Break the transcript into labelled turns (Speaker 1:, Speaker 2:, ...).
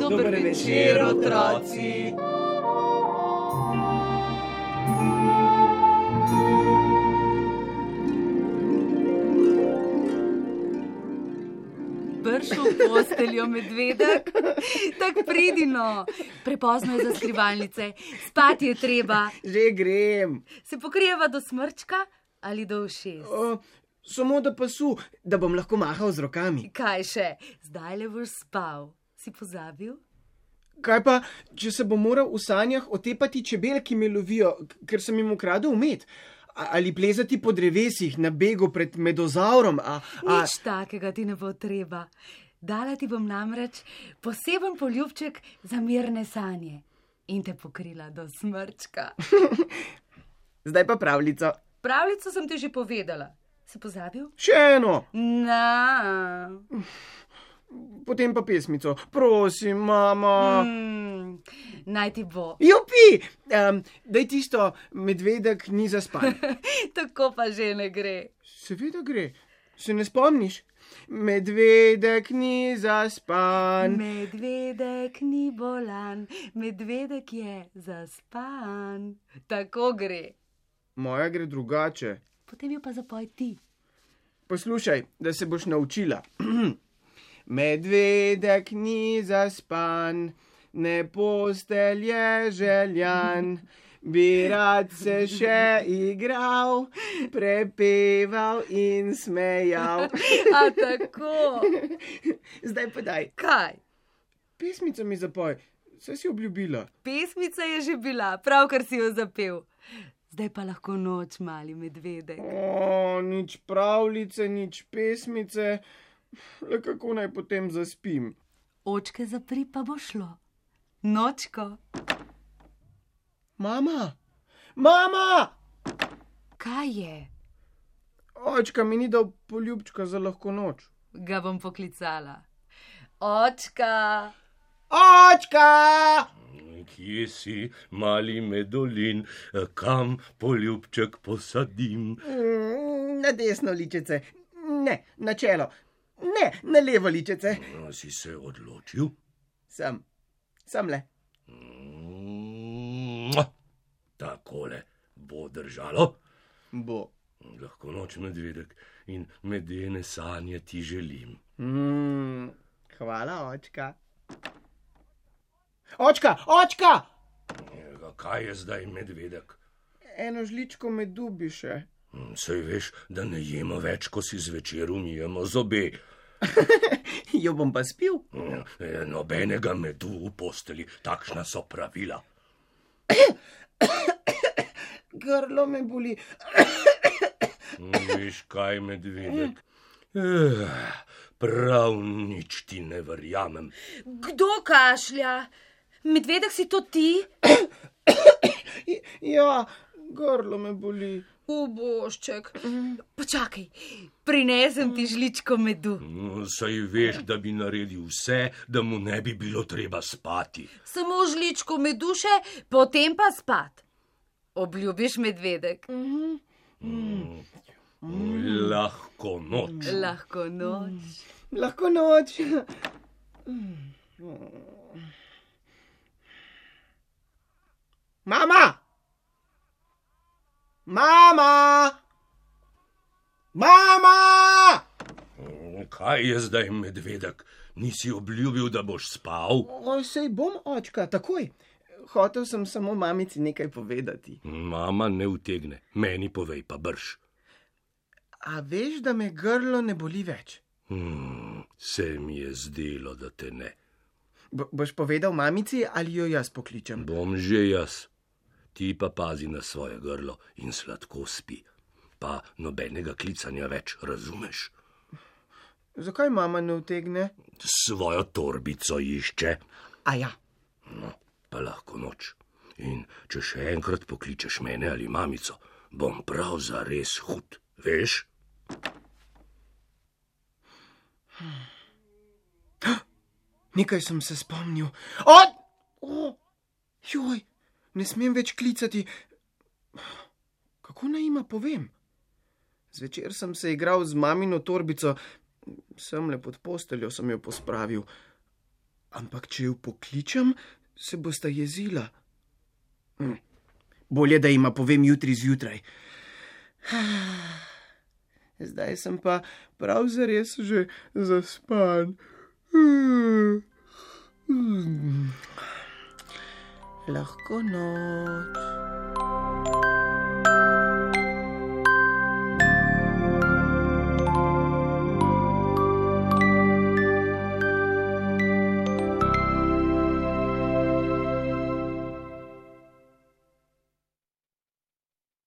Speaker 1: Dober večer, otroci.
Speaker 2: Pršil v posteljo medvedek, tako pridino. Prepozno je za skrivalnice, spati je treba.
Speaker 1: Že grem.
Speaker 2: Se pokrijeva do smrčka ali do ušes.
Speaker 1: O, samo do pasu, da bom lahko mahal z rokami.
Speaker 2: Kaj še, zdaj le boš spal. Si pozabil?
Speaker 1: Kaj pa, če se bom moral v sanjah otepati čebel, ki me lovijo, k- ker sem jim ukradel umet? Ali plezati po drevesih na begu pred medozaurom? A, a,
Speaker 2: Nič takega ti ne bo treba. Dala ti bom namreč poseben poljubček za mirne sanje in te pokrila do smrčka.
Speaker 1: zdaj pa pravljica.
Speaker 2: Pravljico sem ti že povedala. Si pozabil?
Speaker 1: Še eno,
Speaker 2: Na.
Speaker 1: potem pa pesmico. Prosim, mama.
Speaker 2: Mm, naj ti bo.
Speaker 1: Jupi, um, da je tisto, medvedek ni zaspan.
Speaker 2: Tako pa že ne gre.
Speaker 1: Seveda gre, se ne spomniš. Medvedek ni zaspan.
Speaker 2: Medvedek ni bolan, medvedek je zaspan. Tako gre.
Speaker 1: Moja gre drugače.
Speaker 2: Potem jo pa zapoj ti.
Speaker 1: Poslušaj, da se boš naučila. Medvedek ni zaspan, ne postelje željan. Bi rad se še igral, prepeval in smejal.
Speaker 2: A tako.
Speaker 1: Zdaj pa daj,
Speaker 2: Kaj?
Speaker 1: pesmico mi zapoj, saj si obljubila.
Speaker 2: Pesmica je že bila, pravkar si jo zapel. Zdaj pa lahko noč, mali medvedek.
Speaker 1: O, nič pravljice, nič pesmice, le kako naj potem zaspim.
Speaker 2: Očke zapri, pa bo šlo. Nočko,
Speaker 1: Mama, mama!
Speaker 2: kaj je?
Speaker 1: Očka mi ni dal poljubčka za lahko noč.
Speaker 2: Ga bom poklicala. Očka,
Speaker 1: Očka!
Speaker 3: Kje si, mali medolin, kam poljubček posadim?
Speaker 1: Mm, Na desno ličice, ne, na čelo, ne, na levo ličice.
Speaker 3: No, Si se odločil?
Speaker 1: Sem, sem le.
Speaker 3: Mua. Mm, Takole bo držalo.
Speaker 1: Bo.
Speaker 3: Lahko noč medvedek in medene sanje ti želim.
Speaker 1: Mm, hvala, očka. Očka, očka!
Speaker 3: Ja, Kaj je zdaj medvedek?
Speaker 1: Eno žličko medu bi še.
Speaker 3: Hm, Saj veš, da ne jemo več, ko si zvečer umijemo zobe.
Speaker 1: Jo bom pa spil.
Speaker 3: Hm, eh, Nobenega medu v posteli, takšna so pravila.
Speaker 1: Grlo me boli.
Speaker 3: Veš kaj, medvedek? Eh, Prav nič ti ne verjamem.
Speaker 2: kdo kašlja? Medvedek si to ti?
Speaker 1: I- Ja, grlo me boli.
Speaker 2: Ubošček. Počakaj, prinesem ti žličko medu.
Speaker 3: No, Saj veš, da bi naredil vse, da mu ne bi bilo treba spati.
Speaker 2: Samo žličko medu še, potem pa spat. Obljubiš medvedek.
Speaker 3: Lahko noč.
Speaker 2: Lahko noč.
Speaker 1: Lahko noč. Mama! Mama! Mama!
Speaker 3: Kaj je zdaj, medvedek? Nisi obljubil, da boš spal?
Speaker 1: O, sej bom, očka, takoj. Hotev sem samo mamici nekaj povedati.
Speaker 3: Mama ne utegne, meni povej pa brž.
Speaker 1: A veš, da me grlo ne boli več?
Speaker 3: Hmm, se mi je zdelo, da te ne.
Speaker 1: Bo- boš povedal mamici ali jo jaz pokličem?
Speaker 3: Bom že jaz. Ti pa pazi na svoje grlo in sladko spi. Pa nobenega klicanja več, razumeš?
Speaker 1: Zakaj mama ne utegne?
Speaker 3: Svojo torbico išče.
Speaker 1: A ja,
Speaker 3: No, pa lahko noč. In če še enkrat pokličeš mene ali mamico, bom prav za res hud, veš?
Speaker 1: Nekaj sem se spomnil. O! O! Joj, ne smem več klicati. Kako naj jima povem? Zvečer sem se igral z mamino torbico, sem le pod posteljo sem jo pospravil. Ampak če jo pokličem, se bosta jezila. Hm. Bolje, da jima povem jutri zjutraj. Zdaj sem pa prav zares že zaspan. Hm. Mm. Lahko noč.